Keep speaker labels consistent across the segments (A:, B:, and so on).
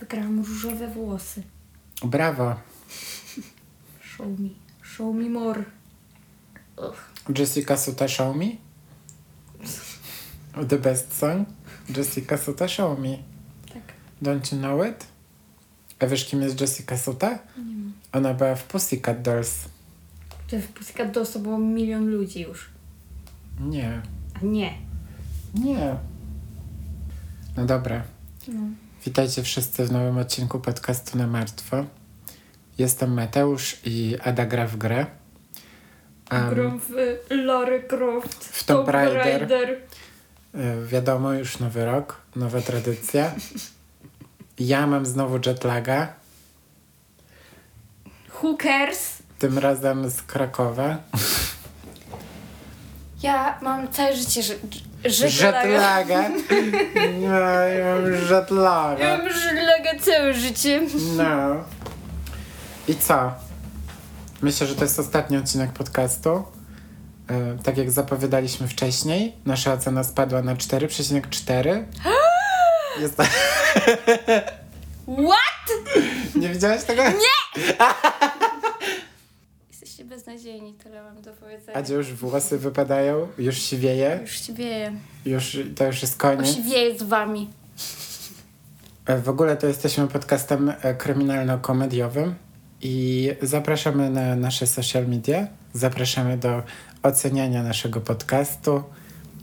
A: Wygrałam różowe włosy.
B: Brawo.
A: Show me. Show me more. Ugh.
B: Jessica Suta Show Me? The best song? Jessica Suta Show Me.
A: Tak.
B: Don't you know it? A wiesz kim jest Jessica Suta? Ona była w Pussycat Dolls.
A: To jest Pussycat Dolls to było milion ludzi już.
B: Nie.
A: A nie.
B: Nie. No dobra.
A: No.
B: Witajcie wszyscy w nowym odcinku podcastu na martwo. Jestem Mateusz i Ada gra w grę. Em,
A: Grom w y, Lara Croft.
B: W Tomb Raider.
A: Raider.
B: Y, Wiadomo, już nowy rok, nowa tradycja. Ja mam znowu jetlaga,
A: Hookers.
B: tym razem z Krakowa.
A: Ja mam całe życie że, że,
B: Jetlaga! No, ja mam
A: Ja
B: jetlaga.
A: mam żelaga całe życie.
B: No. I co? Myślę, że to jest ostatni odcinek podcastu. Y, Tak jak zapowiadaliśmy wcześniej, nasza ocena spadła na 4,4. Jest...
A: What?
B: Nie widziałaś tego?
A: Jesteście beznadziejni, tyle mam do powiedzenia.
B: Adzie już włosy wypadają, już siwieje,
A: Już ci wieje.
B: już, to już jest koniec.
A: Już wieje z wami.
B: E, W ogóle to jesteśmy podcastem e, kryminalno-komediowym i zapraszamy na nasze social media. Zapraszamy do oceniania naszego podcastu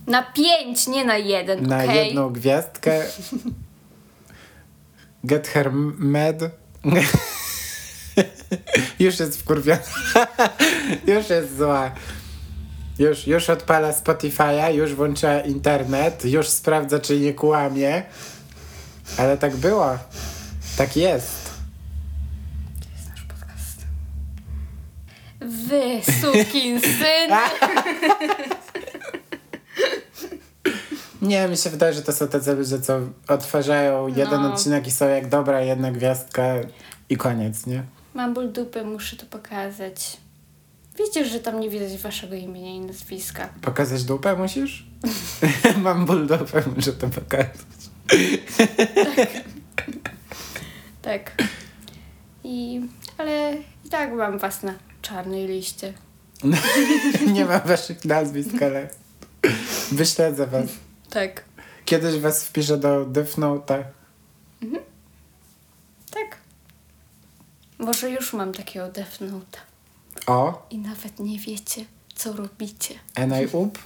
A: Na pięć, nie na jeden,
B: na
A: okej?
B: jedną gwiazdkę. Get her med. już jest wkurwiona. już jest zła. Już, już odpala Spotify'a, już włącza internet, już sprawdza, czy nie kłamie. Ale tak było. Tak jest.
A: Wy, sukin syn.
B: Nie, mi się wydaje, że to są tacy ludzie, co otwarzają jeden
A: No.
B: odcinek i są jak dobra, jedna gwiazdka i koniec, nie?
A: Mam ból dupy, muszę to pokazać. Wiecie, że tam nie widać waszego imienia i nazwiska.
B: Pokazać dupę musisz? Mam ból dupę, muszę to pokazać.
A: Tak. I... ale i tak mam was na czarnej liście.
B: Nie mam waszych nazwisk, ale wyśledzę was.
A: Tak.
B: Kiedyś was wpiszę do Defnota.
A: Tak. Może już mam takiego Death Note'a.
B: O,
A: I nawet nie wiecie, co robicie.
B: NIUP.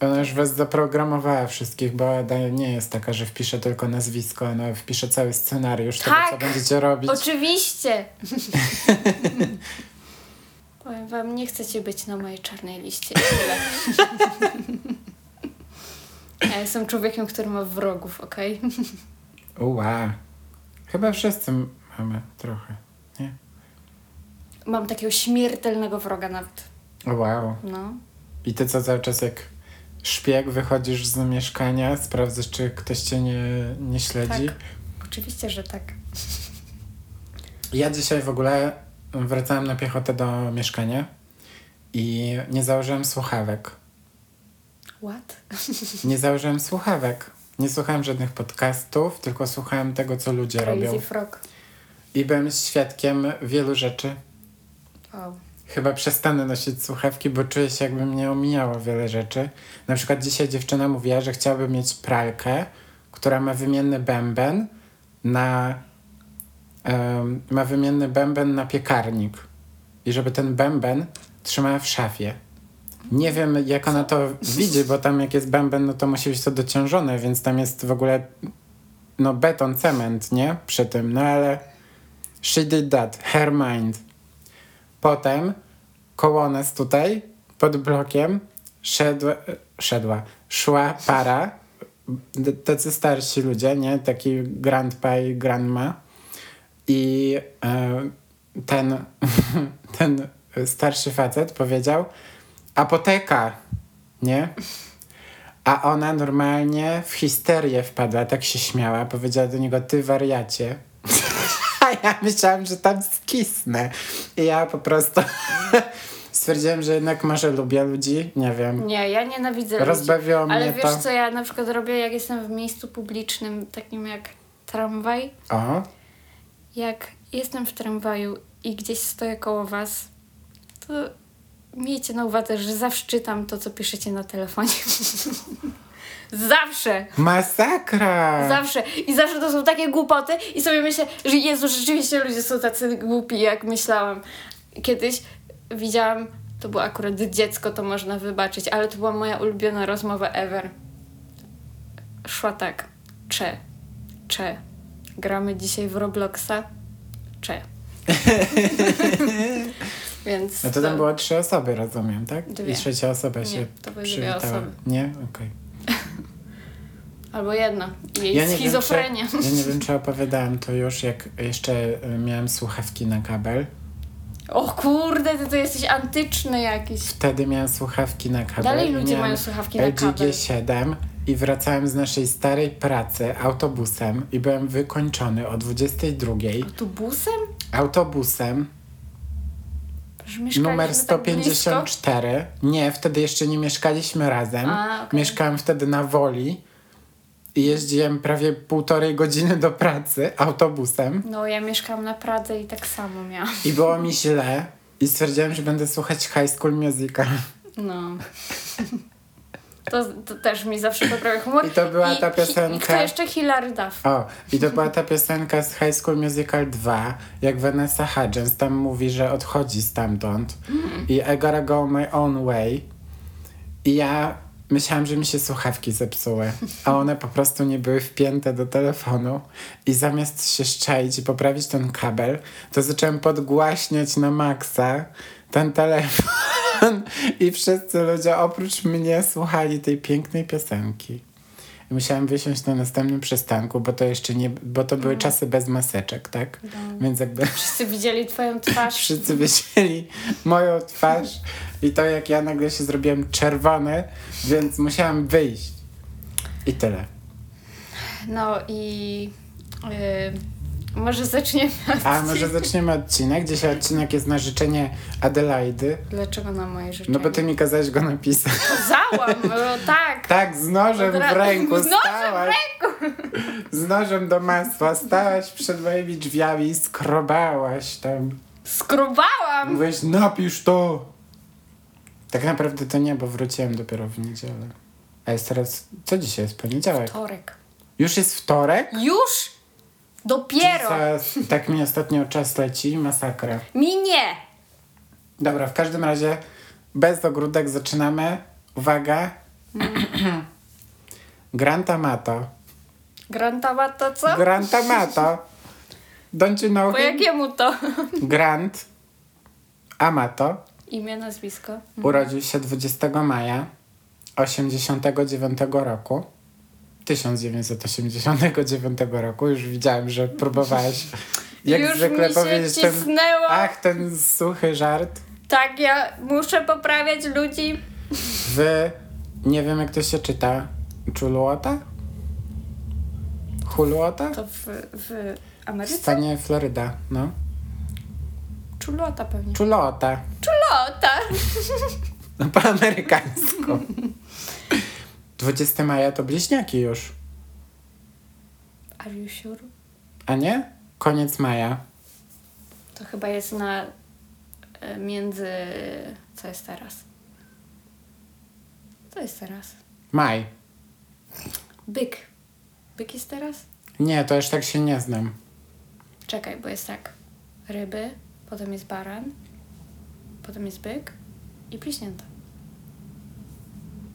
B: Ona już was zaprogramowała wszystkich, bo Ada nie jest taka, że wpisze tylko nazwisko, ona wpisze cały scenariusz
A: Tak!
B: tego, co będziecie robić.
A: Oczywiście! Powiem wam, nie chcecie być na mojej czarnej liście. i Tyle. ja jestem człowiekiem, który ma wrogów, okej?
B: Uła. Chyba wszyscy m- mamy trochę, nie?
A: Mam takiego śmiertelnego wroga nawet.
B: Wow.
A: No.
B: I ty co cały czas jak szpieg wychodzisz z mieszkania, sprawdzasz, czy ktoś cię nie, nie śledzi.
A: Tak. Oczywiście, że tak.
B: Ja dzisiaj w ogóle wracałem na piechotę do mieszkania i nie założyłem słuchawek.
A: What?
B: Nie założyłem słuchawek. Nie słuchałem żadnych podcastów, tylko słuchałem tego, co ludzie
A: Crazy
B: robią.
A: frog.
B: I byłem świadkiem wielu rzeczy.
A: Wow.
B: Chyba przestanę nosić słuchawki, bo czuję się, jakby mnie omijało wiele rzeczy. Na przykład dzisiaj dziewczyna mówiła, że chciałaby mieć pralkę, która ma wymienny bęben na. em, ma wymienny bęben na piekarnik. I żeby ten bęben trzymała w szafie. Nie wiem, jak ona to widzi, bo tam jak jest bęben, no to musi być to dociążone, więc tam jest w ogóle no beton, cement, nie? Przy tym, no ale she did that, her mind. Potem koło nas tutaj, pod blokiem, szedł, szedła, szła para, d- tacy starsi ludzie, nie? Taki grandpa i grandma. I e, ten, ten starszy facet powiedział, apoteka, nie? A ona normalnie w histerię wpadła, tak się śmiała. Powiedziała do niego, ty wariacie. A ja myślałam, że tam skisnę. I ja po prostu stwierdziłem, że jednak może lubię ludzi, nie wiem.
A: Nie, ja nienawidzę
B: Rozbawiło
A: ludzi. Ale
B: mnie
A: wiesz
B: to.
A: co ja na przykład robię, jak jestem w miejscu publicznym, takim jak tramwaj?
B: O,
A: Jak jestem w tramwaju i gdzieś stoję koło was, to miejcie na uwadze, że zawsze czytam to, co piszecie na telefonie. zawsze!
B: masakra!
A: Zawsze. I zawsze to są takie głupoty i sobie myślę, że Jezu, rzeczywiście ludzie są tacy głupi, jak myślałam. Kiedyś widziałam, to było akurat dziecko, to można wybaczyć, ale to była moja ulubiona rozmowa ever. Szła tak. Cze. Cze. Gramy dzisiaj w Robloxa. Cze. Więc...
B: No to tam było trzy osoby, rozumiem, tak?
A: Dwie.
B: I trzecia osoba
A: Nie,
B: się
A: to były dwie
B: przywitała.
A: osoby.
B: Nie? Okej.
A: Albo jedna. Jej
B: nie wiem, czy-
A: schizofrenia.
B: ja nie wiem, czy opowiadałem to już, jak jeszcze y, miałem słuchawki na kabel.
A: O kurde, ty to jesteś antyczny jakiś.
B: Wtedy miałem słuchawki na kabel.
A: Dalej
B: i
A: ludzie
B: miałem
A: mają słuchawki na
B: LG
A: kabel.
B: G7 i wracałem z naszej starej pracy autobusem i byłem wykończony o 22
A: Autobusem?
B: autobusem
A: Że mieszkaliśmy
B: numer Tak 154. nie, wtedy jeszcze nie mieszkaliśmy razem.
A: A, okej.
B: Mieszkałem wtedy na Woli i jeździłem prawie półtorej godziny do pracy autobusem.
A: no, ja mieszkam na Pradze i tak samo miałam.
B: I było mi źle i stwierdziłem, że będę słuchać High School Musical.
A: No. To, to też mi zawsze poprawia humor.
B: I to była ta
A: hi- I
B: piosenka.
A: kto jeszcze Hilary Duff.
B: O, i to była ta piosenka z High School Musical 2, jak Vanessa Hudgens tam mówi, że odchodzi stamtąd i I gotta go my own way. I ja myślałam, że mi się słuchawki zepsuły, a one po prostu nie były wpięte do telefonu i zamiast się szczaić i poprawić ten kabel, to zacząłem podgłaśniać na maksa ten telefon i wszyscy ludzie oprócz mnie słuchali tej pięknej piosenki. I Musiałam wysiąść na następnym przystanku, bo to jeszcze nie, bo to były czasy bez maseczek, tak? Więc jakby
A: Wszyscy widzieli twoją twarz.
B: wszyscy widzieli moją twarz i to jak ja nagle się zrobiłem czerwony, więc musiałam wyjść. I tyle.
A: No i... y, może zaczniemy od...
B: A może zaczniemy odcinek? Dzisiaj odcinek jest na życzenie Adelaidy.
A: Dlaczego na moje rzeczy?
B: No bo ty mi kazałeś go napisać.
A: Załam, no tak.
B: Tak, z nożem
A: Od razu-
B: w ręku
A: z nożem w
B: stałaś. Z nożem do masła stałaś przed moimi drzwiami i skrobałaś tam.
A: Skrobałam!
B: Mówiłeś, napisz to! Tak naprawdę to nie, bo wróciłem dopiero w niedzielę. A jest teraz, co dzisiaj jest? Poniedziałek.
A: Torek.
B: Już jest wtorek?
A: Już? Dopiero!
B: Zaraz, tak mi ostatnio czas leci, masakra.
A: Mi nie!
B: Dobra, w każdym razie bez ogródek zaczynamy. Uwaga. Gran Tamato.
A: Grantowa to co?
B: Gran Tamato. Don't you know
A: Po
B: him?
A: jakiemu to?
B: Grant Amato.
A: Imię, nazwisko.
B: Mhm. Urodził się 20 maja 89 roku. 1989 roku. Już widziałem, że próbowałeś jak
A: Już
B: zwykle
A: mi się
B: powiedzieć ten...
A: cisnęło.
B: Ach, ten suchy żart.
A: Tak, ja muszę poprawiać ludzi.
B: W... Nie wiem, jak to się czyta. Chuluota? Huluota?
A: To w, w
B: W
A: Ameryce?
B: stanie Floryda, no.
A: Czulota pewnie.
B: Chuluota.
A: Czulota!
B: No po amerykańsku. 20 maja to bliźniaki już.
A: Are you sure?
B: A nie? Koniec maja.
A: To chyba jest na e, między... Co jest teraz? Co jest teraz?
B: Maj.
A: Byk. Byk jest teraz?
B: Nie, to już tak się nie znam.
A: Czekaj, bo jest tak. Ryby, potem jest baran, potem jest byk i bliźnięta.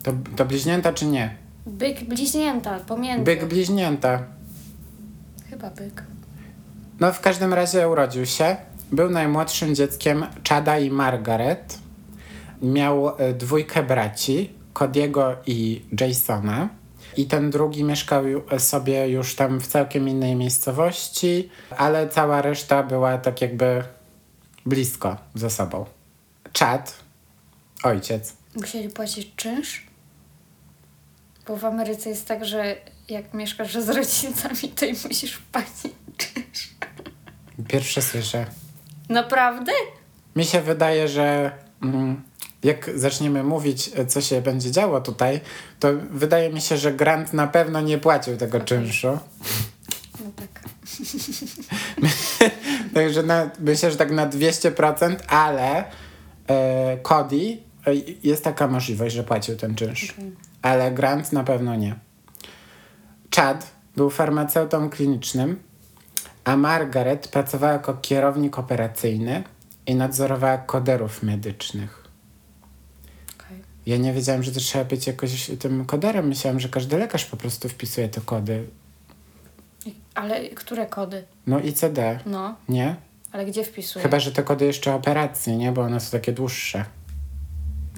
B: To, to bliźnięta czy nie?
A: Byk, bliźnięta, pomiędzy.
B: Byk bliźnięta.
A: Chyba byk.
B: No w każdym razie urodził się. Był najmłodszym dzieckiem Chada i Margaret. Miał e, dwójkę braci, Cody'ego i Jasona. I ten drugi mieszkał ju- e, sobie już tam w całkiem innej miejscowości, ale cała reszta była tak jakby blisko ze sobą. Chad, ojciec,
A: Musieli płacić czynsz? Bo w Ameryce jest tak, że jak mieszkasz z rodzicami, to i musisz płacić czynsz.
B: pierwsze słyszę.
A: Naprawdę?
B: Mi się wydaje, że mm, jak zaczniemy mówić, e, co się będzie działo tutaj, to wydaje mi się, że Grant na pewno nie płacił tego czynszu.
A: No tak.
B: Także na, myślę, że tak na 200%, ale e, Cody e, jest taka możliwość, że płacił ten czynsz. Ale Grant na pewno nie. Chad był farmaceutą klinicznym, a Margaret pracowała jako kierownik operacyjny i nadzorowała koderów medycznych.
A: Okej.
B: Ja nie wiedziałem, że to trzeba być jakoś tym koderem. Myślałem, że każdy lekarz po prostu wpisuje te kody.
A: Ale które kody?
B: No i CD,
A: No,
B: nie?
A: ale gdzie wpisuję?
B: Chyba, że te kody jeszcze operacji, nie? Bo one są takie dłuższe.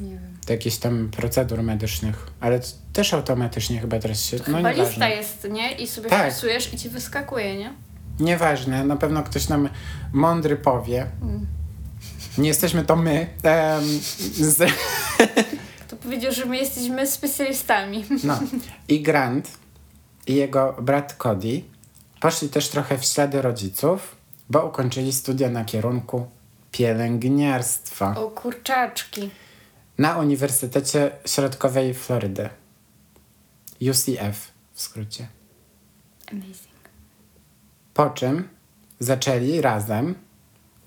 A: Nie wiem.
B: do jakichś tam procedur medycznych, ale to też automatycznie chyba teraz się...
A: Chyba
B: No, nieważne.
A: lista jest, nie? I sobie
B: Tak.
A: wpisujesz i ci wyskakuje, nie?
B: Nieważne, na pewno ktoś nam mądry powie.
A: Mm.
B: Nie jesteśmy to my. Em, z,
A: To powiedział, że my jesteśmy specjalistami.
B: no. I Grant i jego brat Cody poszli też trochę w ślady rodziców, bo ukończyli studia na kierunku pielęgniarstwa
A: O kurczaczki.
B: na Uniwersytecie Środkowej Florydy. UCF w skrócie.
A: Amazing.
B: Po czym zaczęli razem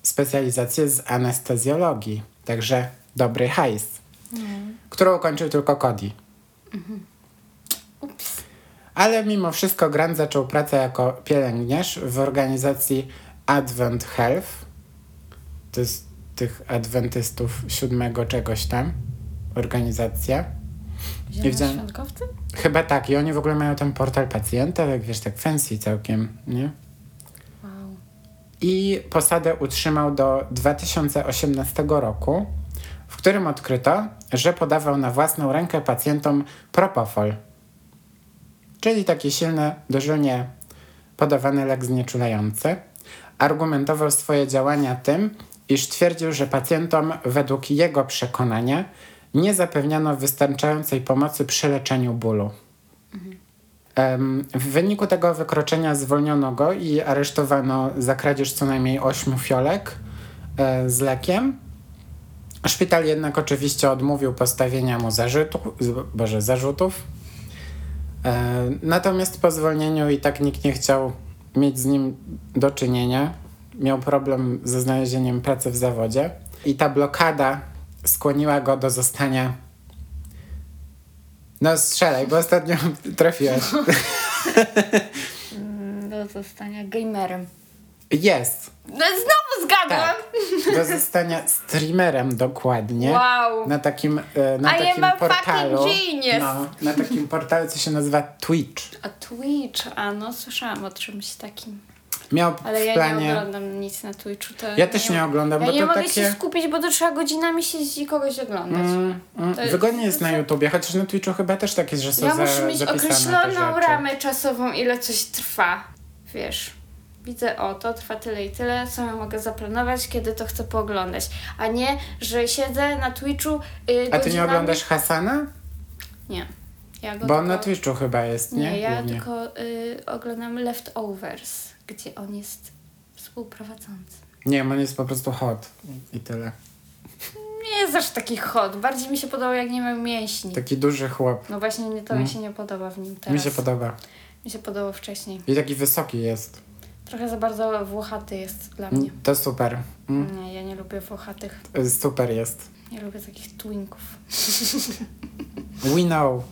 B: specjalizację z anestezjologii. Także dobry hajs, którą ukończył tylko Cody.
A: Ups.
B: Ale mimo wszystko Grant zaczął pracę jako pielęgniarz w organizacji Advent Health. To jest tych adwentystów siódmego czegoś tam. Organizacja.
A: Zielone
B: widziałem.
A: świątkowcy?
B: Chyba tak. I oni w ogóle mają ten portal pacjenta, jak wiesz, tak fancy całkiem, nie?
A: Wow.
B: i posadę utrzymał do 2018 roku, w którym odkryto, że podawał na własną rękę pacjentom propofol, czyli taki silny, dożylnie podawany lek znieczulający. Argumentował swoje działania tym, iż twierdził, że pacjentom według jego przekonania nie zapewniano wystarczającej pomocy przy leczeniu bólu. Em, W wyniku tego wykroczenia zwolniono go i aresztowano za kradzież co najmniej ośmiu fiolek e, z lekiem. Szpital jednak oczywiście odmówił postawienia mu zarzutu, z- boże, zarzutów. E, Natomiast po zwolnieniu i tak nikt nie chciał mieć z nim do czynienia. Miał problem ze znalezieniem pracy w zawodzie. I ta blokada skłoniła go do zostania. No strzelaj, bo ostatnio trafiłeś.
A: Do zostania gamerem.
B: Jest.
A: No znowu zgadłam!
B: Tak. Do zostania streamerem dokładnie.
A: Wow.
B: Na takim, e, na
A: I am
B: takim
A: a fucking
B: portalu.
A: genius.
B: No, na takim portalu, co się nazywa Twitch.
A: A Twitch, a no słyszałam o czymś takim.
B: Miał
A: Ale
B: w
A: ja
B: planie.
A: nie oglądam nic na Twitchu. To
B: Ja też nie oglądam,
A: ja
B: bo
A: nie
B: to
A: mogę
B: takie.
A: się skupić, bo to trzeba godzinami siedzieć i kogoś oglądać.
B: Mm, mm,
A: To jest-
B: Wygodnie jest
A: to
B: na
A: co?
B: YouTubie, chociaż na Twitchu chyba też tak jest, że są
A: ja
B: za,
A: muszę mieć
B: zapisane te
A: określoną
B: rzeczy.
A: ramę czasową, ile coś trwa. Wiesz, widzę o to, trwa tyle i tyle, co ja mogę zaplanować, kiedy to chcę pooglądać. A nie, że siedzę na Twitchu yy,
B: A ty nie
A: godzinami-
B: oglądasz Hasana?
A: Nie. Ja go
B: Bo
A: tylko...
B: on na Twitchu chyba jest, nie?
A: Nie, ja
B: Głównie.
A: tylko y, oglądam Leftovers, gdzie on jest współprowadzący.
B: Nie, on jest po prostu hot. I tyle.
A: Nie jest aż taki hot. Bardziej mi się podobał, jak nie miał mięśni.
B: Taki duży chłop.
A: No właśnie, nie, to mi się nie podoba w nim teraz.
B: Tak. Mhm. Mi się podoba.
A: Mi się podobało wcześniej.
B: I taki wysoki jest.
A: Trochę za bardzo włochaty jest dla mnie.
B: To super. Mm,
A: Nie, ja nie lubię włochatych.
B: Super jest.
A: Nie lubię takich twinków.
B: We know.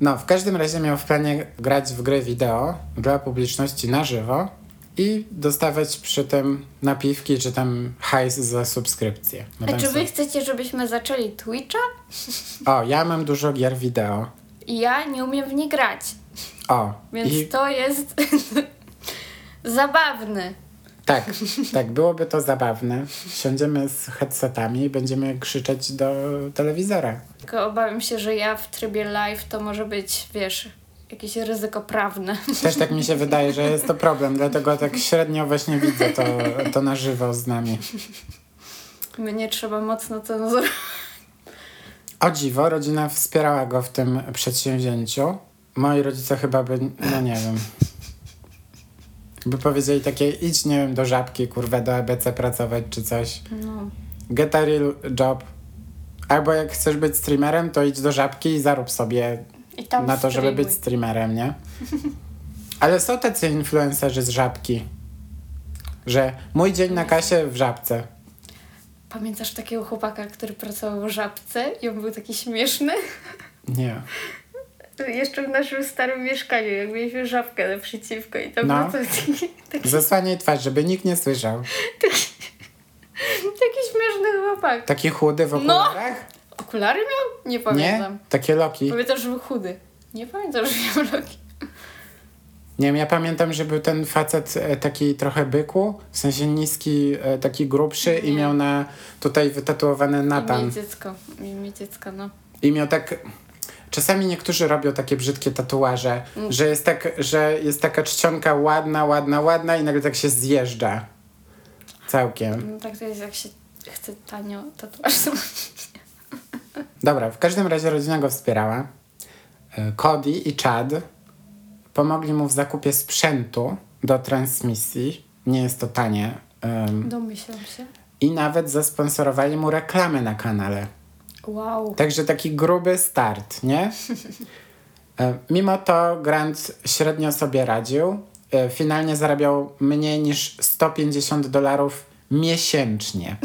B: No, w każdym razie miał w planie grać w gry wideo dla publiczności na żywo i dostawać przy tym napiwki czy tam hajs za subskrypcję. No
A: A
B: tam
A: czy wy
B: są-
A: chcecie, żebyśmy zaczęli Twitcha?
B: O, ja mam dużo gier wideo.
A: I ja nie umiem w nie grać.
B: O,
A: Więc
B: i
A: to jest zabawny.
B: tak, tak, byłoby to zabawne. Siądziemy z headsetami i będziemy krzyczeć do telewizora.
A: Tylko obawiam się, że ja w trybie live to może być, wiesz, jakieś ryzyko prawne.
B: Też tak mi się wydaje, że jest to problem, dlatego tak średnio właśnie widzę to, to na żywo z nami.
A: Mnie trzeba mocno cenzurować.
B: O dziwo, rodzina wspierała go w tym przedsięwzięciu. Moi rodzice chyba by, no nie wiem, by powiedzieli takie, idź, nie wiem, do żabki, kurwa, do ABC pracować czy coś.
A: No.
B: Get a real job. Albo jak chcesz być streamerem, to idź do żabki i zarób sobie
A: I tam
B: na to, żeby
A: streamuj.
B: być streamerem, nie? Ale są tacy influencerzy z żabki, że mój dzień na kasie w żabce.
A: Pamiętasz takiego chłopaka, który pracował w żabce i on był taki śmieszny?
B: Nie.
A: Jeszcze w naszym starym mieszkaniu, jak mieliśmy żabkę naprzeciwko i tam
B: No.
A: był taki, taki,
B: Zasłaniaj twarz, żeby nikt nie słyszał.
A: taki śmieszny chłopak.
B: Taki chudy
A: No!
B: w okularach?
A: Okulary miał? Nie
B: nie?
A: pamiętam.
B: Takie loki.
A: Pamiętam, że był chudy. Nie pamiętam, że miał rogi.
B: Nie wiem, ja pamiętam, że był ten facet e, taki trochę byku, w sensie niski, e, taki grubszy i miał na tutaj wytatuowane
A: Mieli
B: Natan.
A: dziecko. Mieli dziecko, no.
B: I miał tak. Czasami niektórzy robią takie brzydkie tatuaże, że, jest tak, że jest taka czcionka ładna, ładna, ładna i nagle tak się zjeżdża. Całkiem.
A: no. Tak to jest, jak się chce tanio tatuaż zrobić.
B: Dobra, w każdym razie rodzina go wspierała. E, Cody i Chad pomogli mu w zakupie sprzętu do transmisji. Nie jest to tanie. em,
A: Domyślam się.
B: I nawet zasponsorowali mu reklamę na kanale.
A: Wow.
B: Także taki gruby start, nie? E, Mimo to Grant średnio sobie radził. E, Finalnie zarabiał mniej niż 150 dolarów miesięcznie.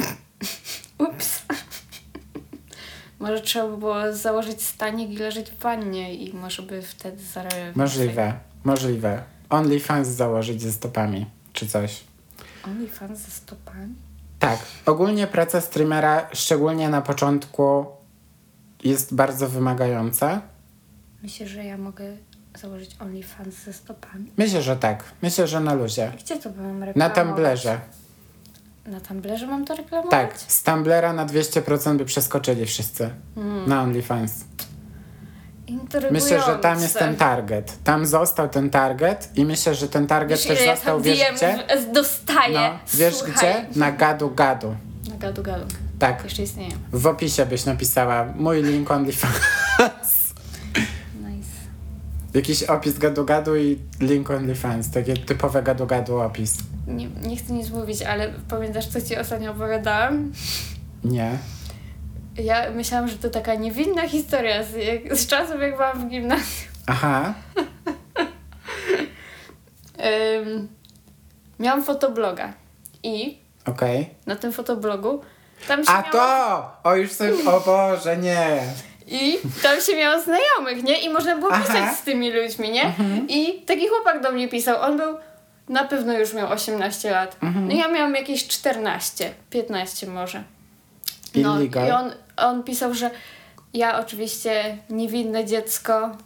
A: Ups. Może trzeba by było założyć stanik i leżeć w wannie i może by wtedy zarabiał
B: Możliwe, możliwe. OnlyFans założyć ze stopami, czy coś.
A: OnlyFans ze stopami?
B: Tak, ogólnie praca streamera, szczególnie na początku, jest bardzo wymagająca.
A: Myślę, że ja mogę założyć OnlyFans ze stopami.
B: Myślę, że tak. Myślę, że na luzie.
A: Gdzie to mam reklamować?
B: Na Tumblerze.
A: Na Tumblerze mam to reklamować?
B: Tak, z Tumblera na 200% by przeskoczyli wszyscy na OnlyFans.
A: Intrygujące.
B: Myślę, że tam jest ten target. Tam został ten target i myślę, że ten target
A: Wiesz,
B: też
A: ile ja
B: został,
A: tam
B: wiesz
A: DM
B: gdzie?
A: w- dostaję.
B: No, wiesz
A: Słuchaj.
B: gdzie? Na gadu gadu.
A: Na gadu gadu.
B: Tak,
A: Jeszcze istnieje.
B: w opisie byś napisała mój link OnlyFans.
A: Nice.
B: Jakiś opis gadu gadu i link OnlyFans. Takie typowe gadu gadu opis.
A: Nie, nie chcę nic mówić, ale pamiętasz, co ci ostatnio opowiadałam?
B: Nie.
A: Ja myślałam, że to taka niewinna historia z, jak, z czasów, jak byłam w gimnazjum.
B: Aha,
A: Ym, miałam fotobloga i
B: okej.
A: na tym fotoblogu tam się
B: A
A: miało-
B: to! O już sobie, o Boże, nie.
A: I tam się miało znajomych, nie? I można było
B: Aha. Mhm.
A: pisać z tymi ludźmi, nie? I taki chłopak do mnie pisał. On był, na pewno już miał 18 lat.
B: Mhm.
A: No ja miałam jakieś 14, 15 może. No i
B: Illegal.
A: on, on pisał, że ja oczywiście niewinne dziecko.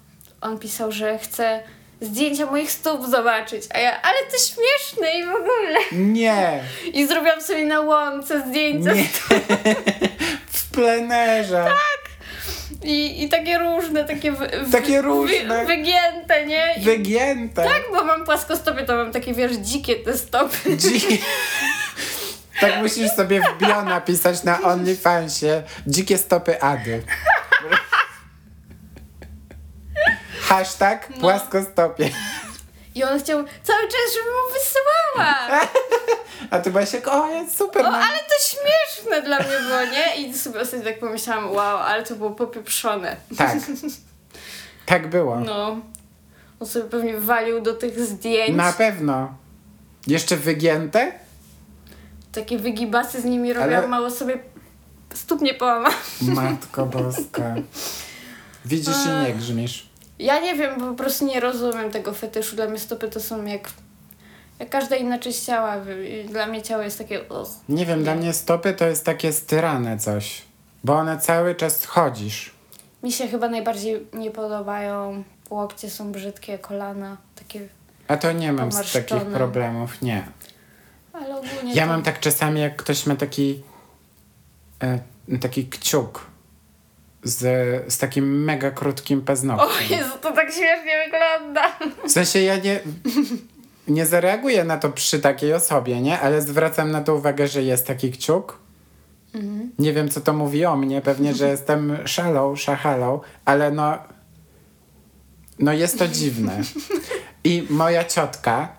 A: On pisał, że chce zdjęcia moich stóp zobaczyć. A ja, ale to śmieszne i w ogóle.
B: Nie.
A: I zrobiłam sobie na łące zdjęcia.
B: Nie. W plenerze.
A: I, I takie różne, takie, w, w,
B: Takie różne.
A: Wy, wygięte, nie? I
B: Wygięte.
A: Tak, bo mam płaskostopie, to mam takie, wiesz, dzikie te stopy.
B: Dzi- tak musisz sobie w bio napisać na OnlyFansie dzikie stopy Ady. Hashtag
A: No.
B: płaskostopie.
A: I on chciał cały czas, żebym mu wysyłała.
B: A ty byłaś jak, o, jest super.
A: O,
B: mam.
A: ale to śmieszne dla mnie było, nie? I sobie ostatnio tak pomyślałam, wow, ale to było popieprzone.
B: Tak. Tak było.
A: No. On sobie pewnie walił do tych zdjęć.
B: Na pewno. Jeszcze wygięte?
A: Takie wygibasy z nimi robiłam,
B: Ale-
A: mało sobie stóp nie połamałam.
B: Matko boska. Widzisz i nie grzmisz.
A: Ja nie wiem, po prostu nie rozumiem tego fetyszu. Dla mnie stopy to są jak... Jak każda inna część ciała. Dla mnie ciało jest takie... ugh.
B: Nie wiem, dla mnie stopy to jest takie styrane coś. Bo one cały czas chodzisz.
A: Mi się chyba najbardziej nie podobają. Łokcie są brzydkie, kolana takie.
B: A to nie mam z
A: Pomarszczone.
B: takich problemów, nie.
A: Ale ogólnie.
B: Ja
A: to-
B: mam tak czasami, jak ktoś ma taki e, taki kciuk z, z takim mega krótkim
A: O
B: paznokciem.
A: Jezu, to tak śmiesznie wygląda.
B: W sensie ja nie, nie zareaguję na to przy takiej osobie, nie? Ale zwracam na to uwagę, że jest taki kciuk. Nie wiem, co to mówi o mnie. Pewnie, że jestem szalą, szachalą, ale no... No jest to dziwne. I moja ciotka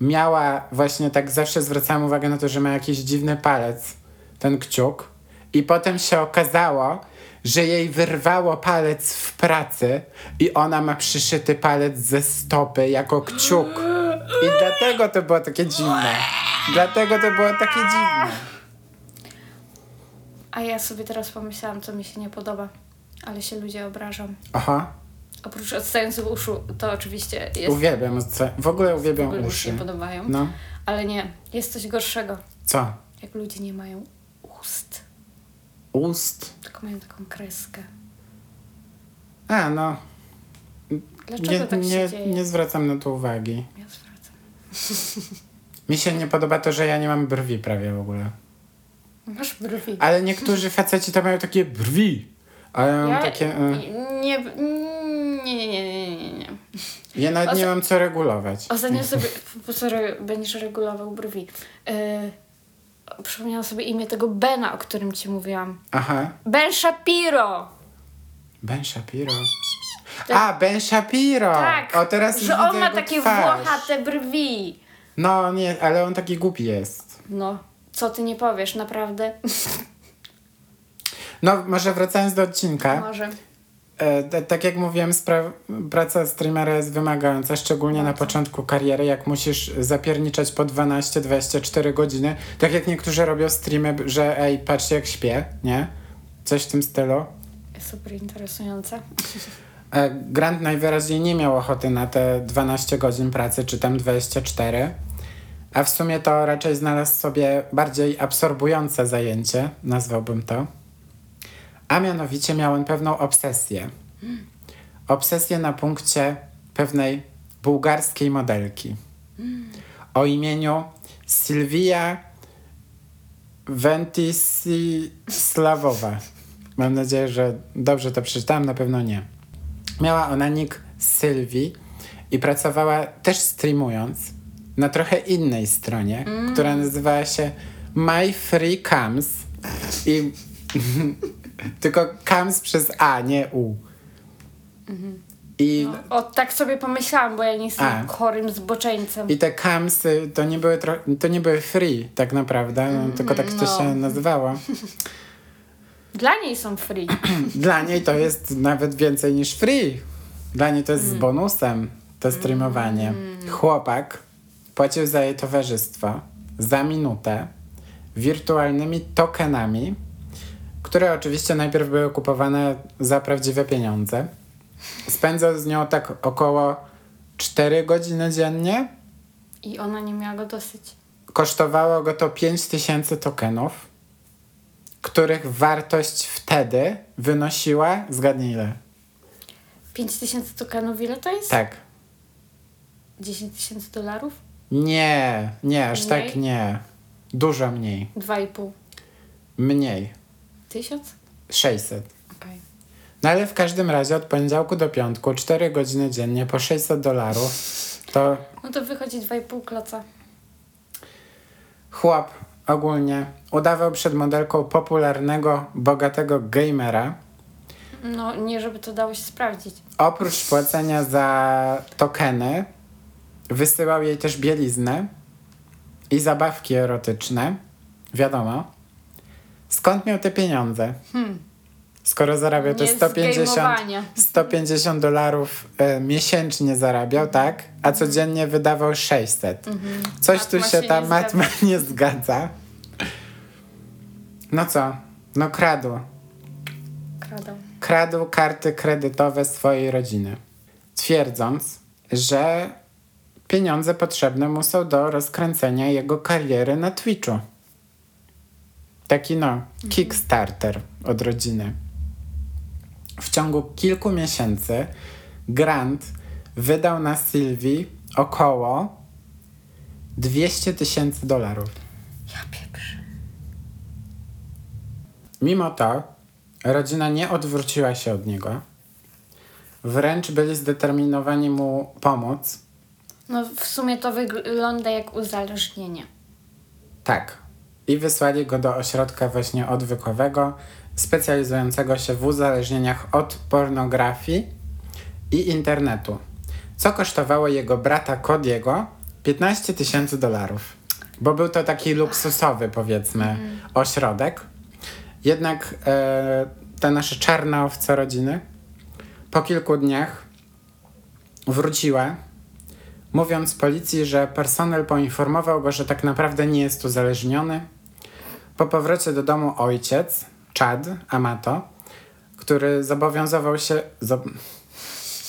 B: miała właśnie tak, zawsze zwracałam uwagę na to, że ma jakiś dziwny palec, ten kciuk. I potem się okazało, że jej wyrwało palec w pracy i ona ma przyszyty palec ze stopy jako kciuk. I dlatego to było takie dziwne. Dlatego to było takie dziwne.
A: A ja sobie teraz pomyślałam, co mi się nie podoba, ale się ludzie obrażą.
B: Aha,
A: Oprócz odstających uszu, to oczywiście jest.
B: uwielbiam. odsta- W ogóle
A: w
B: uwielbiam
A: ogóle mi się
B: uszy.
A: nie podobają.
B: No,
A: Ale nie, jest coś gorszego,
B: co?
A: jak ludzie nie mają ust,
B: Ust?
A: tylko mają taką kreskę.
B: A, no.
A: Dlaczego
B: Nie,
A: tak się
B: nie,
A: dzieje?
B: nie zwracam na to uwagi.
A: Ja zwracam.
B: Mi się nie podoba to, że ja nie mam brwi prawie w ogóle.
A: Masz brwi.
B: Ale niektórzy faceci to mają takie brwi. A ja mam
A: ja
B: takie... Y,
A: nie, nie, nie, nie, nie, nie, nie.
B: ja nawet nie
A: Osta-
B: mam co regulować.
A: Ostatnio sobie, po co re- będziesz regulował brwi? Yy, przypomniałam sobie imię tego Bena, o którym ci mówiłam.
B: Aha.
A: Ben Shapiro!
B: Ben Shapiro.
A: Tak.
B: A, Ben Shapiro!
A: Tak!
B: O, teraz
A: że
B: widzę
A: on ma
B: jego
A: takie
B: twarz.
A: włochate brwi.
B: No, nie, ale on taki głupi jest.
A: No, co ty nie powiesz, naprawdę?
B: No, może wracając do odcinka.
A: Może.
B: E, t- tak jak mówiłem, spra- praca streamera jest wymagająca, szczególnie na początku kariery, jak musisz zapierniczać po 12-24 godziny. Tak jak niektórzy robią streamy, b- że ej, patrzcie jak śpię, nie? Coś w tym stylu.
A: Super interesujące.
B: E, Grant najwyraźniej nie miał ochoty na te 12 godzin pracy, czy tam 24. A w sumie to raczej znalazł sobie bardziej absorbujące zajęcie, nazwałbym to. A mianowicie miał on pewną obsesję. Obsesję na punkcie pewnej bułgarskiej modelki o imieniu Sylwia Ventislawowa. Mam nadzieję, że dobrze to przeczytałam, na pewno nie. Miała ona nick Sylwii i pracowała też streamując na trochę innej stronie, która nazywała się My Free Cams i tylko Cams przez A, nie U. I
A: O, tak sobie pomyślałam, bo ja nie jestem
B: A.
A: chorym zboczeńcem.
B: I te camsy to nie były, tro- to nie były free tak naprawdę, no, tylko tak to
A: no.
B: się nazywało.
A: Dla niej są free.
B: Dla niej to jest nawet więcej niż free. Dla niej to jest z bonusem to streamowanie. Chłopak płacił za jej towarzystwo za minutę wirtualnymi tokenami, które oczywiście najpierw były kupowane za prawdziwe pieniądze. Spędzał z nią tak około 4 godziny dziennie.
A: I ona nie miała go dosyć.
B: Kosztowało go to 5000 tokenów, których wartość wtedy wynosiła, zgadnij ile?
A: 5000 tokenów, ile to jest?
B: Tak.
A: 10 tysięcy dolarów?
B: Nie, nie, aż
A: Mniej?
B: tak nie. Dużo mniej.
A: 2,5
B: Mniej.
A: tysiąc?
B: 600.
A: Okej.
B: No ale w każdym razie od poniedziałku do piątku, 4 godziny dziennie po 600 dolarów, to
A: No to wychodzi 2,5 kloca.
B: chłop ogólnie udawał przed modelką popularnego, bogatego gamera.
A: No nie, żeby to dało się sprawdzić.
B: Oprócz płacenia za tokeny, wysyłał jej też bieliznę i zabawki erotyczne. Wiadomo. Skąd miał te pieniądze? Skoro zarabiał te
A: Hmm. Nie z
B: 150,
A: gameowania.
B: 150 dolarów e, miesięcznie zarabiał, tak?
A: Mhm.
B: A codziennie wydawał 600. Coś tu
A: Matma
B: się
A: Mhm. Tak się
B: ta
A: nie
B: matma nie zgadza. No co? No kradł
A: Kradą.
B: kradł karty kredytowe swojej rodziny, twierdząc, że pieniądze potrzebne mu są do rozkręcenia jego kariery na Twitchu. Taki no, Kickstarter od rodziny. W ciągu kilku miesięcy Grant wydał na Sylwii około 200 tysięcy dolarów.
A: Ja pieprzę.
B: Mimo to rodzina nie odwróciła się od niego. Wręcz byli zdeterminowani mu pomóc.
A: No w sumie to wygląda jak uzależnienie.
B: Tak. I wysłali go do ośrodka właśnie odwykowego, specjalizującego się w uzależnieniach od pornografii i internetu. Co kosztowało jego brata Kodiego 15 tysięcy dolarów. Bo był to taki luksusowy, powiedzmy, ośrodek. Jednak e, ta nasza czarna owca rodziny po kilku dniach wróciła, mówiąc policji, że personel poinformował go, że tak naprawdę nie jest uzależniony. Po powrocie do domu ojciec, Chad Amato, który zobowiązywał się, zob,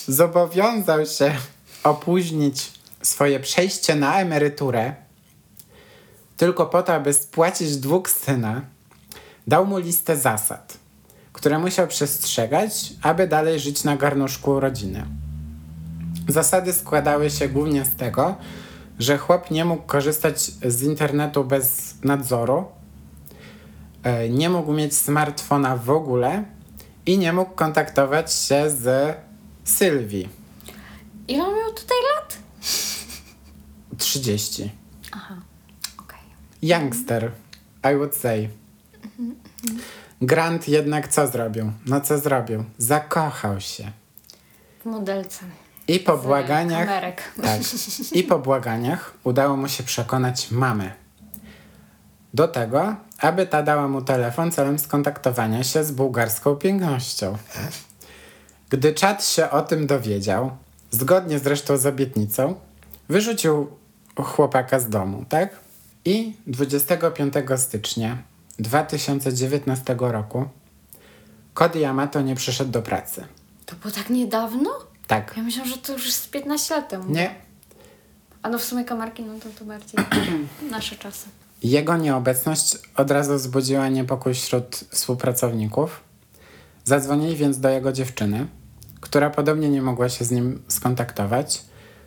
B: zobowiązał się opóźnić swoje przejście na emeryturę tylko po to, aby spłacić dług syna, dał mu listę zasad, które musiał przestrzegać, aby dalej żyć na garnuszku rodziny. Zasady składały się głównie z tego, że chłop nie mógł korzystać z internetu bez nadzoru, e, nie mógł mieć smartfona w ogóle i nie mógł kontaktować się z Sylwii.
A: Ile on miał tutaj lat?
B: 30.
A: Aha, okej.
B: Youngster, I would say. Grant jednak co zrobił? No co zrobił? Zakochał się.
A: W modelce.
B: I po
A: Z
B: błaganiach.
A: Kamerek.
B: Tak. I po błaganiach udało mu się przekonać mamę do tego, aby ta dała mu telefon celem skontaktowania się z bułgarską pięknością. Gdy czat się o tym dowiedział, zgodnie zresztą z obietnicą, wyrzucił chłopaka z domu, tak? I 25 stycznia 2019 roku Cody Yamato nie przyszedł do pracy.
A: To było tak niedawno?
B: Tak.
A: Ja myślałam, że to już z 15 lat temu.
B: Nie,
A: A no w sumie kamarki, no to, to bardziej nasze czasy.
B: Jego nieobecność od razu wzbudziła niepokój wśród współpracowników. Zadzwonili więc do jego dziewczyny, która podobnie nie mogła się z nim skontaktować,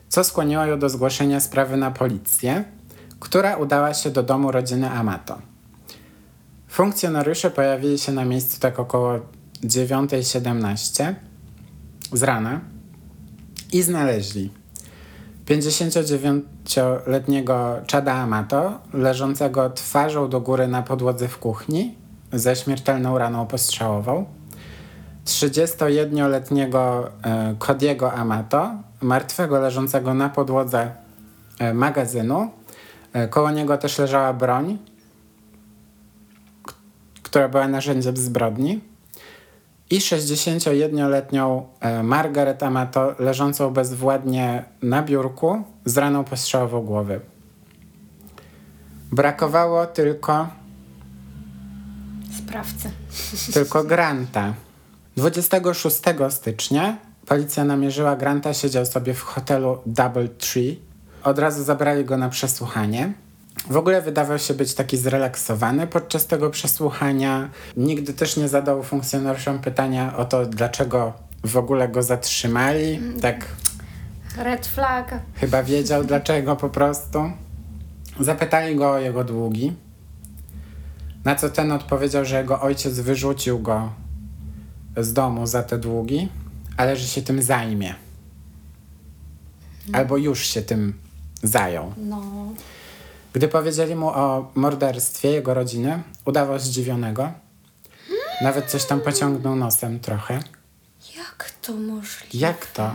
B: co skłoniło ją do zgłoszenia sprawy na policję, która udała się do domu rodziny Amato. Funkcjonariusze pojawili się na miejscu tak około 9.17 z rana i znaleźli 59-letniego Chada Amato, leżącego twarzą do góry na podłodze w kuchni ze śmiertelną raną postrzałową. 31-letniego e, Kodiego Amato, martwego leżącego na podłodze e, magazynu. E, koło niego też leżała broń, k- która była narzędziem zbrodni i 61-letnią e, Margaret Amato leżącą bezwładnie na biurku z raną postrzałową głowy. Brakowało tylko,
A: Sprawcy.
B: tylko Granta. 26 stycznia policja namierzyła Granta, siedział sobie w hotelu Double Tree. Od razu zabrali go na przesłuchanie. W ogóle wydawał się być taki zrelaksowany podczas tego przesłuchania. Nigdy też nie zadał funkcjonariuszom pytania o to, dlaczego w ogóle go zatrzymali. Tak
A: Red flag.
B: Chyba wiedział dlaczego po prostu. Zapytali go o jego długi. Na co ten odpowiedział, że jego ojciec wyrzucił go z domu za te długi, ale że się tym zajmie. Albo już się tym zajął.
A: No.
B: Gdy powiedzieli mu o morderstwie jego rodziny, udawał zdziwionego. Nawet coś tam pociągnął nosem trochę.
A: Jak to możliwe?
B: Jak to?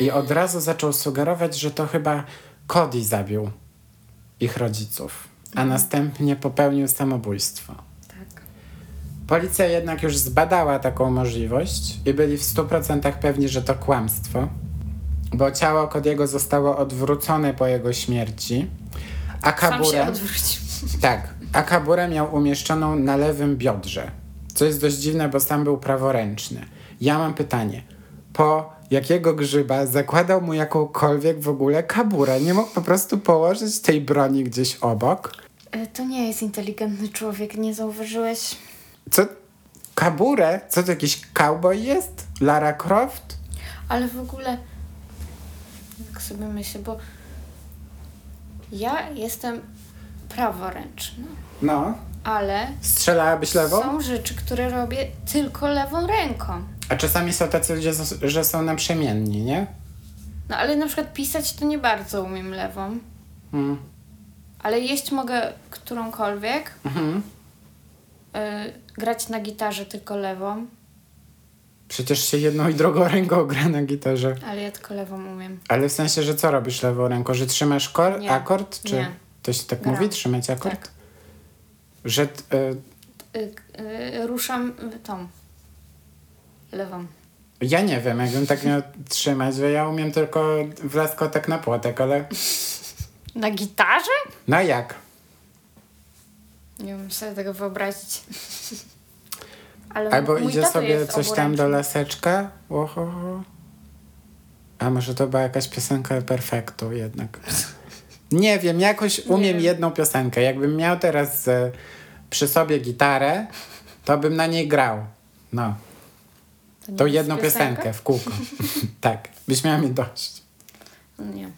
B: I od razu zaczął sugerować, że to chyba Cody zabił ich rodziców, a
A: Mhm.
B: następnie popełnił samobójstwo.
A: Tak.
B: Policja jednak już zbadała taką możliwość i byli w 100% pewni, że to kłamstwo, bo ciało Cody'ego zostało odwrócone po jego śmierci, a
A: Sam się
B: kaburę,
A: odwrócił.
B: tak, a kaburę miał umieszczoną na lewym biodrze, co jest dość dziwne, bo sam był praworęczny. Ja mam pytanie, po jakiego grzyba zakładał mu jakąkolwiek w ogóle kaburę? Nie mógł po prostu położyć tej broni gdzieś obok?
A: E, To nie jest inteligentny człowiek, nie zauważyłeś?
B: Co? Kaburę? Co to jakiś cowboy jest? Lara Croft?
A: Ale w ogóle, tak sobie myślę, bo ja jestem praworęczna,
B: No.
A: ale
B: Strzelałabyś lewą?
A: są rzeczy, które robię tylko lewą ręką.
B: A czasami są tacy ludzie, że są naprzemienni, nie?
A: No ale na przykład pisać to nie bardzo umiem lewą,
B: Mm.
A: ale jeść mogę którąkolwiek,
B: Mhm.
A: y, grać na gitarze tylko lewą,
B: Przecież się jedną i drugą ręką gra na gitarze.
A: ale ja tylko lewą umiem.
B: Ale w sensie, że co robisz lewą ręką? Że trzymasz kor-
A: Nie.
B: akord? Czy
A: Nie.
B: to się tak
A: Gram.
B: mówi, trzymać akord?
A: Tak.
B: Że t- y,
A: y, y, ruszam y, tą lewą.
B: Ja nie wiem, jakbym tak miał trzymać, bo ja umiem tylko w las kotek na płotek, ale
A: Na gitarze?
B: no jak?
A: Nie wiem sobie tego wyobrazić. Ale
B: Albo
A: mój
B: idzie
A: tato
B: sobie
A: jest
B: coś tam
A: oburęczny.
B: do laseczka, ohoho. A może to była jakaś piosenka perfektu jednak. Nie wiem, jakoś umiem
A: wiem.
B: jedną piosenkę. Jakbym miał teraz e, przy sobie gitarę, to bym na niej grał. No,
A: nie
B: tą
A: jest
B: jedną piosenkę w kółko. tak, byś miała mi dość.
A: Nie.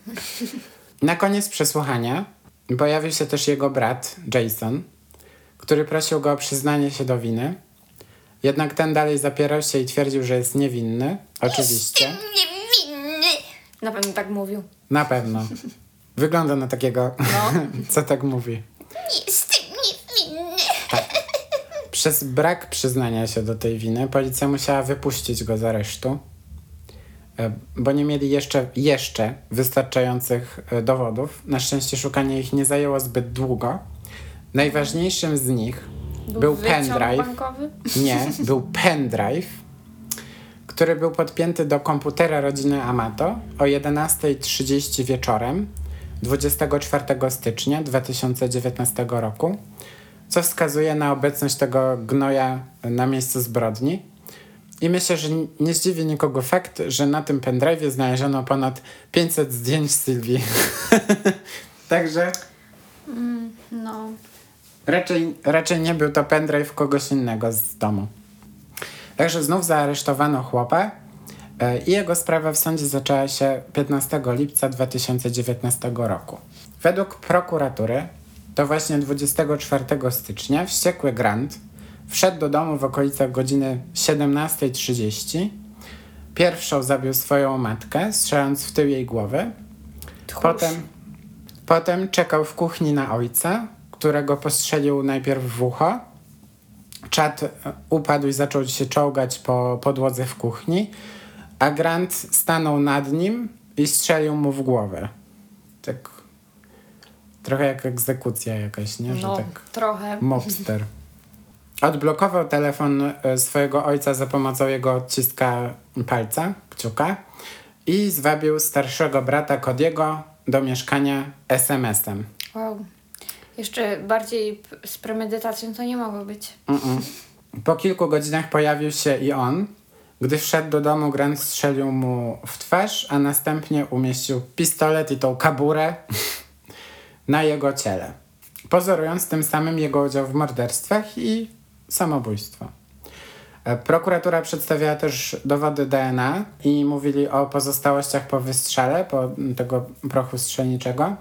B: Na koniec przesłuchania pojawił się też jego brat, Jason, który prosił go o przyznanie się do winy. Jednak ten dalej zapierał się i twierdził, że jest niewinny. Oczywiście.
A: Na pewno tak mówił.
B: Na pewno. Wygląda na takiego,
A: No.
B: co tak mówi. Tak.
C: Jestem niewinny.
B: Przez brak przyznania się do tej winy policja musiała wypuścić go z aresztu, e, bo nie mieli jeszcze, jeszcze wystarczających e, dowodów. Na szczęście szukanie ich nie zajęło zbyt długo. Najważniejszym z nich był,
A: wyciąg
B: pendrive.
A: bankowy?
B: Nie, był pendrive, który był podpięty do komputera rodziny Amato o 11.30 wieczorem 24 stycznia 2019 roku, co wskazuje na obecność tego gnoja na miejscu zbrodni. I myślę, że n- nie zdziwi nikogo fakt, że na tym pendrive znaleziono ponad 500 zdjęć Sylwii. Także
A: No.
B: Raczej, raczej nie był to pendrive kogoś innego z domu. Także znów zaaresztowano chłopa e, i jego sprawa w sądzie zaczęła się 15 lipca 2019 roku. Według prokuratury to właśnie 24 stycznia wściekły Grant wszedł do domu w okolicach godziny 17.30. Pierwszą zabił swoją matkę, strzelając w tył jej głowy.
A: Tchórz.
B: Potem, potem czekał w kuchni na ojca, którego postrzelił najpierw w ucho. Chad e, upadł i zaczął się czołgać po podłodze w kuchni, a Grant stanął nad nim i strzelił mu w głowę. Tak trochę jak egzekucja jakaś, nie? Że
A: No,
B: tak
A: trochę.
B: mobster. Odblokował telefon e, swojego ojca za pomocą jego odciska palca, kciuka i zwabił starszego brata Kodiego do mieszkania SMS-em.
A: Wow. Jeszcze bardziej p- z premedytacją to nie mogło być.
B: Mm-mm. Po kilku godzinach pojawił się i on. Gdy wszedł do domu, Grant strzelił mu w twarz, a następnie umieścił pistolet i tą kaburę na jego ciele, pozorując tym samym jego udział w morderstwach i samobójstwo. E, Prokuratura przedstawiała też dowody DNA i mówili o pozostałościach po wystrzale, po mm, tego prochu strzelniczego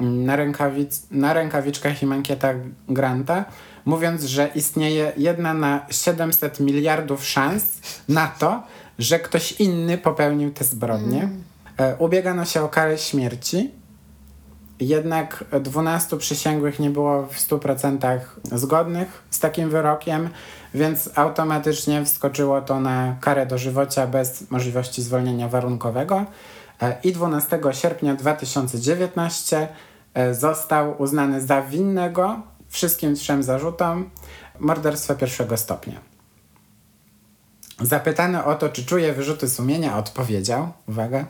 B: mm, na, rękawic- na rękawiczkach i mankietach Granta, mówiąc, że istnieje jedna na 700 miliardów szans na to, że ktoś inny popełnił te zbrodnie. E, Ubiegano się o karę śmierci, jednak 12 przysięgłych nie było w 100% zgodnych z takim wyrokiem, więc automatycznie wskoczyło to na karę dożywocia bez możliwości zwolnienia warunkowego. E, I 12 sierpnia 2019 e, został uznany za winnego wszystkim trzem zarzutom morderstwa pierwszego stopnia. Zapytany o to, czy czuje wyrzuty sumienia, odpowiedział, uwaga,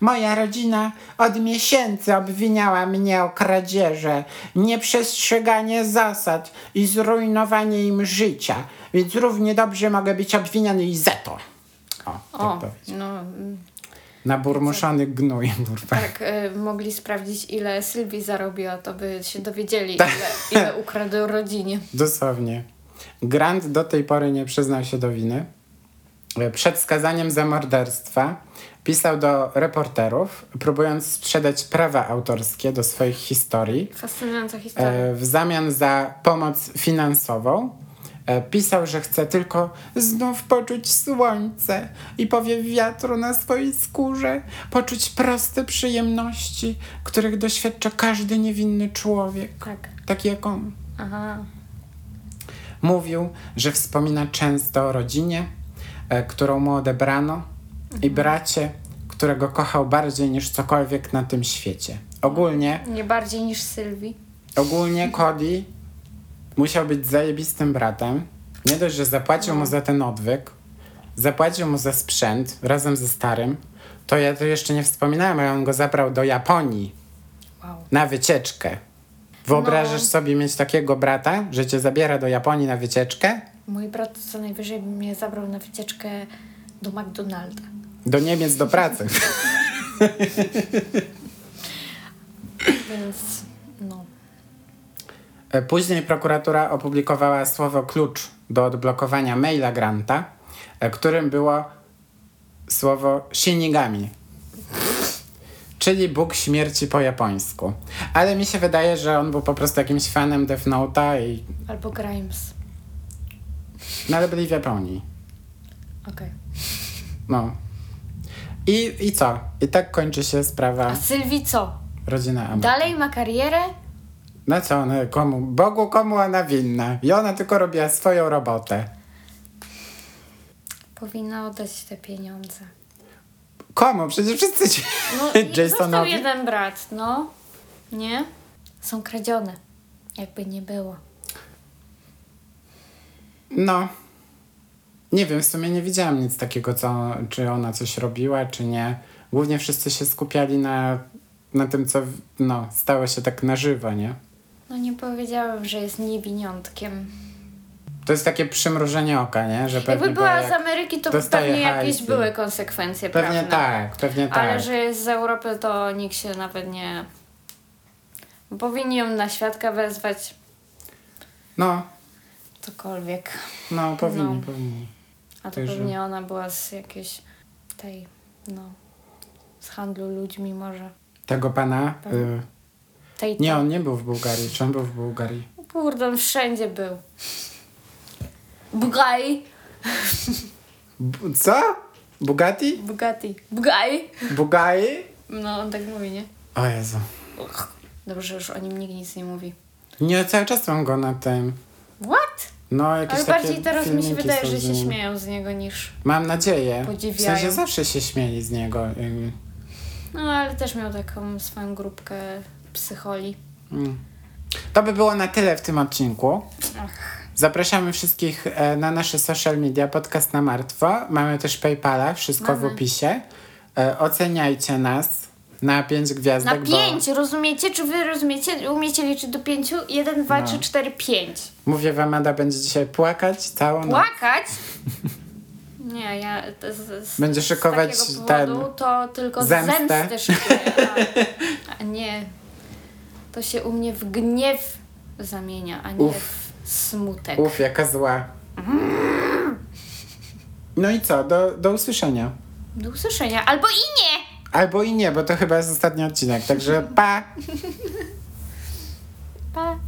B: Moja rodzina od miesięcy obwiniała mnie o kradzieże, nieprzestrzeganie zasad i zrujnowanie im życia, więc równie dobrze mogę być obwiniany i za to. O, tak
A: O,
B: powiem.
A: no mm,
B: Naburmuszony gnój, kurwa.
A: tak y, mogli sprawdzić, ile Sylwii zarobiła, to by się dowiedzieli,
B: Tak.
A: ile, ile ukradł rodzinie.
B: Dosłownie. Grant do tej pory nie przyznał się do winy. E, Przed skazaniem za morderstwa pisał do reporterów, próbując sprzedać prawa autorskie do swoich historii.
A: Fascynująca historia.
B: E, w zamian za pomoc finansową e, pisał, że chce tylko znów poczuć słońce i powiew wiatru na swojej skórze, poczuć proste przyjemności, których doświadcza każdy niewinny człowiek,
A: Tak.
B: taki jak on.
A: Aha.
B: Mówił, że wspomina często o rodzinie, e, którą mu odebrano, i bracie, którego kochał bardziej niż cokolwiek na tym świecie. Ogólnie
A: Nie bardziej niż Sylwii.
B: Ogólnie Cody musiał być zajebistym bratem. Nie dość, że zapłacił mu za ten odwyk, zapłacił mu za sprzęt razem ze starym, to ja to jeszcze nie wspominałem, ale on go zabrał do Japonii
A: Wow.
B: na wycieczkę. Wyobrażasz sobie mieć takiego brata, że cię zabiera do Japonii na wycieczkę?
A: Mój brat co najwyżej by mnie zabrał na wycieczkę do McDonalda.
B: Do Niemiec do pracy.
A: Więc no.
B: E, Później prokuratura opublikowała słowo klucz do odblokowania maila Granta, e, którym było słowo Shinigami, czyli Bóg Śmierci po japońsku. Ale mi się wydaje, że on był po prostu jakimś fanem Death Note'a i
A: Albo Grimes.
B: no, ale byli w Japonii.
A: Okej.
B: No. I, I co? I tak kończy się sprawa
A: A Sylwii co?
B: rodziny Amo.
A: Dalej ma karierę?
B: No co ona, komu? Bogu komu ona winna? I ona tylko robiła swoją robotę.
A: Powinna oddać te pieniądze.
B: Komu? Przecież wszyscy ci...
A: No, i został
B: Jasonowi?
A: jeden brat, no. Nie? Są kradzione. Jakby nie było.
B: No. Nie wiem, w sumie nie widziałam nic takiego, co, czy ona coś robiła, czy nie. Głównie wszyscy się skupiali na, na tym, co w- no, stało się tak na żywo, nie?
A: No nie powiedziałam, że jest niewiniątkiem.
B: To jest takie przymrużenie oka, nie? Że No pewnie
A: Jakby była
B: jak-
A: z Ameryki, to
B: dostaje
A: pewnie jakieś
B: hajsy.
A: były konsekwencje
B: Pewnie
A: prawne.
B: tak, pewnie tak.
A: Ale że jest z Europy, to nikt się nawet nie... Powinni ją na świadka wezwać
B: No,
A: cokolwiek.
B: no, powinni,
A: No.
B: powinni.
A: A to
B: Także-
A: pewnie ona była z jakiejś tej, no, z handlu ludźmi może.
B: Tego pana... Y,
A: Tej,
B: nie, on nie był w Bułgarii. Czy on był w Bułgarii?
A: Kurde, on wszędzie był. Bugaj,
B: Bu- co? Bugatti?
A: Bugatti, Bugaj.
B: Bugai?
A: No, on tak mówi, nie?
B: O Jezu.
A: Uch. Dobrze, że już o nim nikt nic nie mówi.
B: Nie, cały czas mam go na tym.
A: What?
B: No, jakieś
A: Ale
B: takie
A: bardziej teraz mi się
B: filmiki
A: wydaje,
B: są
A: że
B: z
A: się
B: nim.
A: śmieją z niego niż...
B: Mam nadzieję. W
A: Podziwiają.
B: sensie zawsze się śmieli z niego. jakby.
A: No, ale też miał taką swoją grupkę psycholi.
B: Mm. To by było na tyle w tym odcinku.
A: Ach,
B: Zapraszamy wszystkich e, na nasze social media, podcast na martwo. Mamy też PayPala, wszystko w
A: Mamy.
B: opisie. E, Oceniajcie nas na 5
A: na
B: gwiazdek.
A: pięć, rozumiecie? Czy wy rozumiecie? Umiecie liczyć do pięciu? Jeden, dwa,
B: No.
A: trzy, cztery, pięć.
B: Bo, mówię wam, Ada będzie dzisiaj płakać całą noc.
A: Płakać? Nie, ja z, z,
B: Będzie
A: z
B: szykować
A: takiego
B: ten-
A: powodu to tylko
B: zemstę.
A: zemstę, zemstę szykuję, a, a nie. To się u mnie w gniew zamienia, a nie
B: Uf.
A: w smutek.
B: Uf, jaka zła. No i co? Do, do usłyszenia.
A: Do usłyszenia. Albo i nie!
B: Albo i nie, bo to chyba jest ostatni odcinek. Także pa!
A: Pa!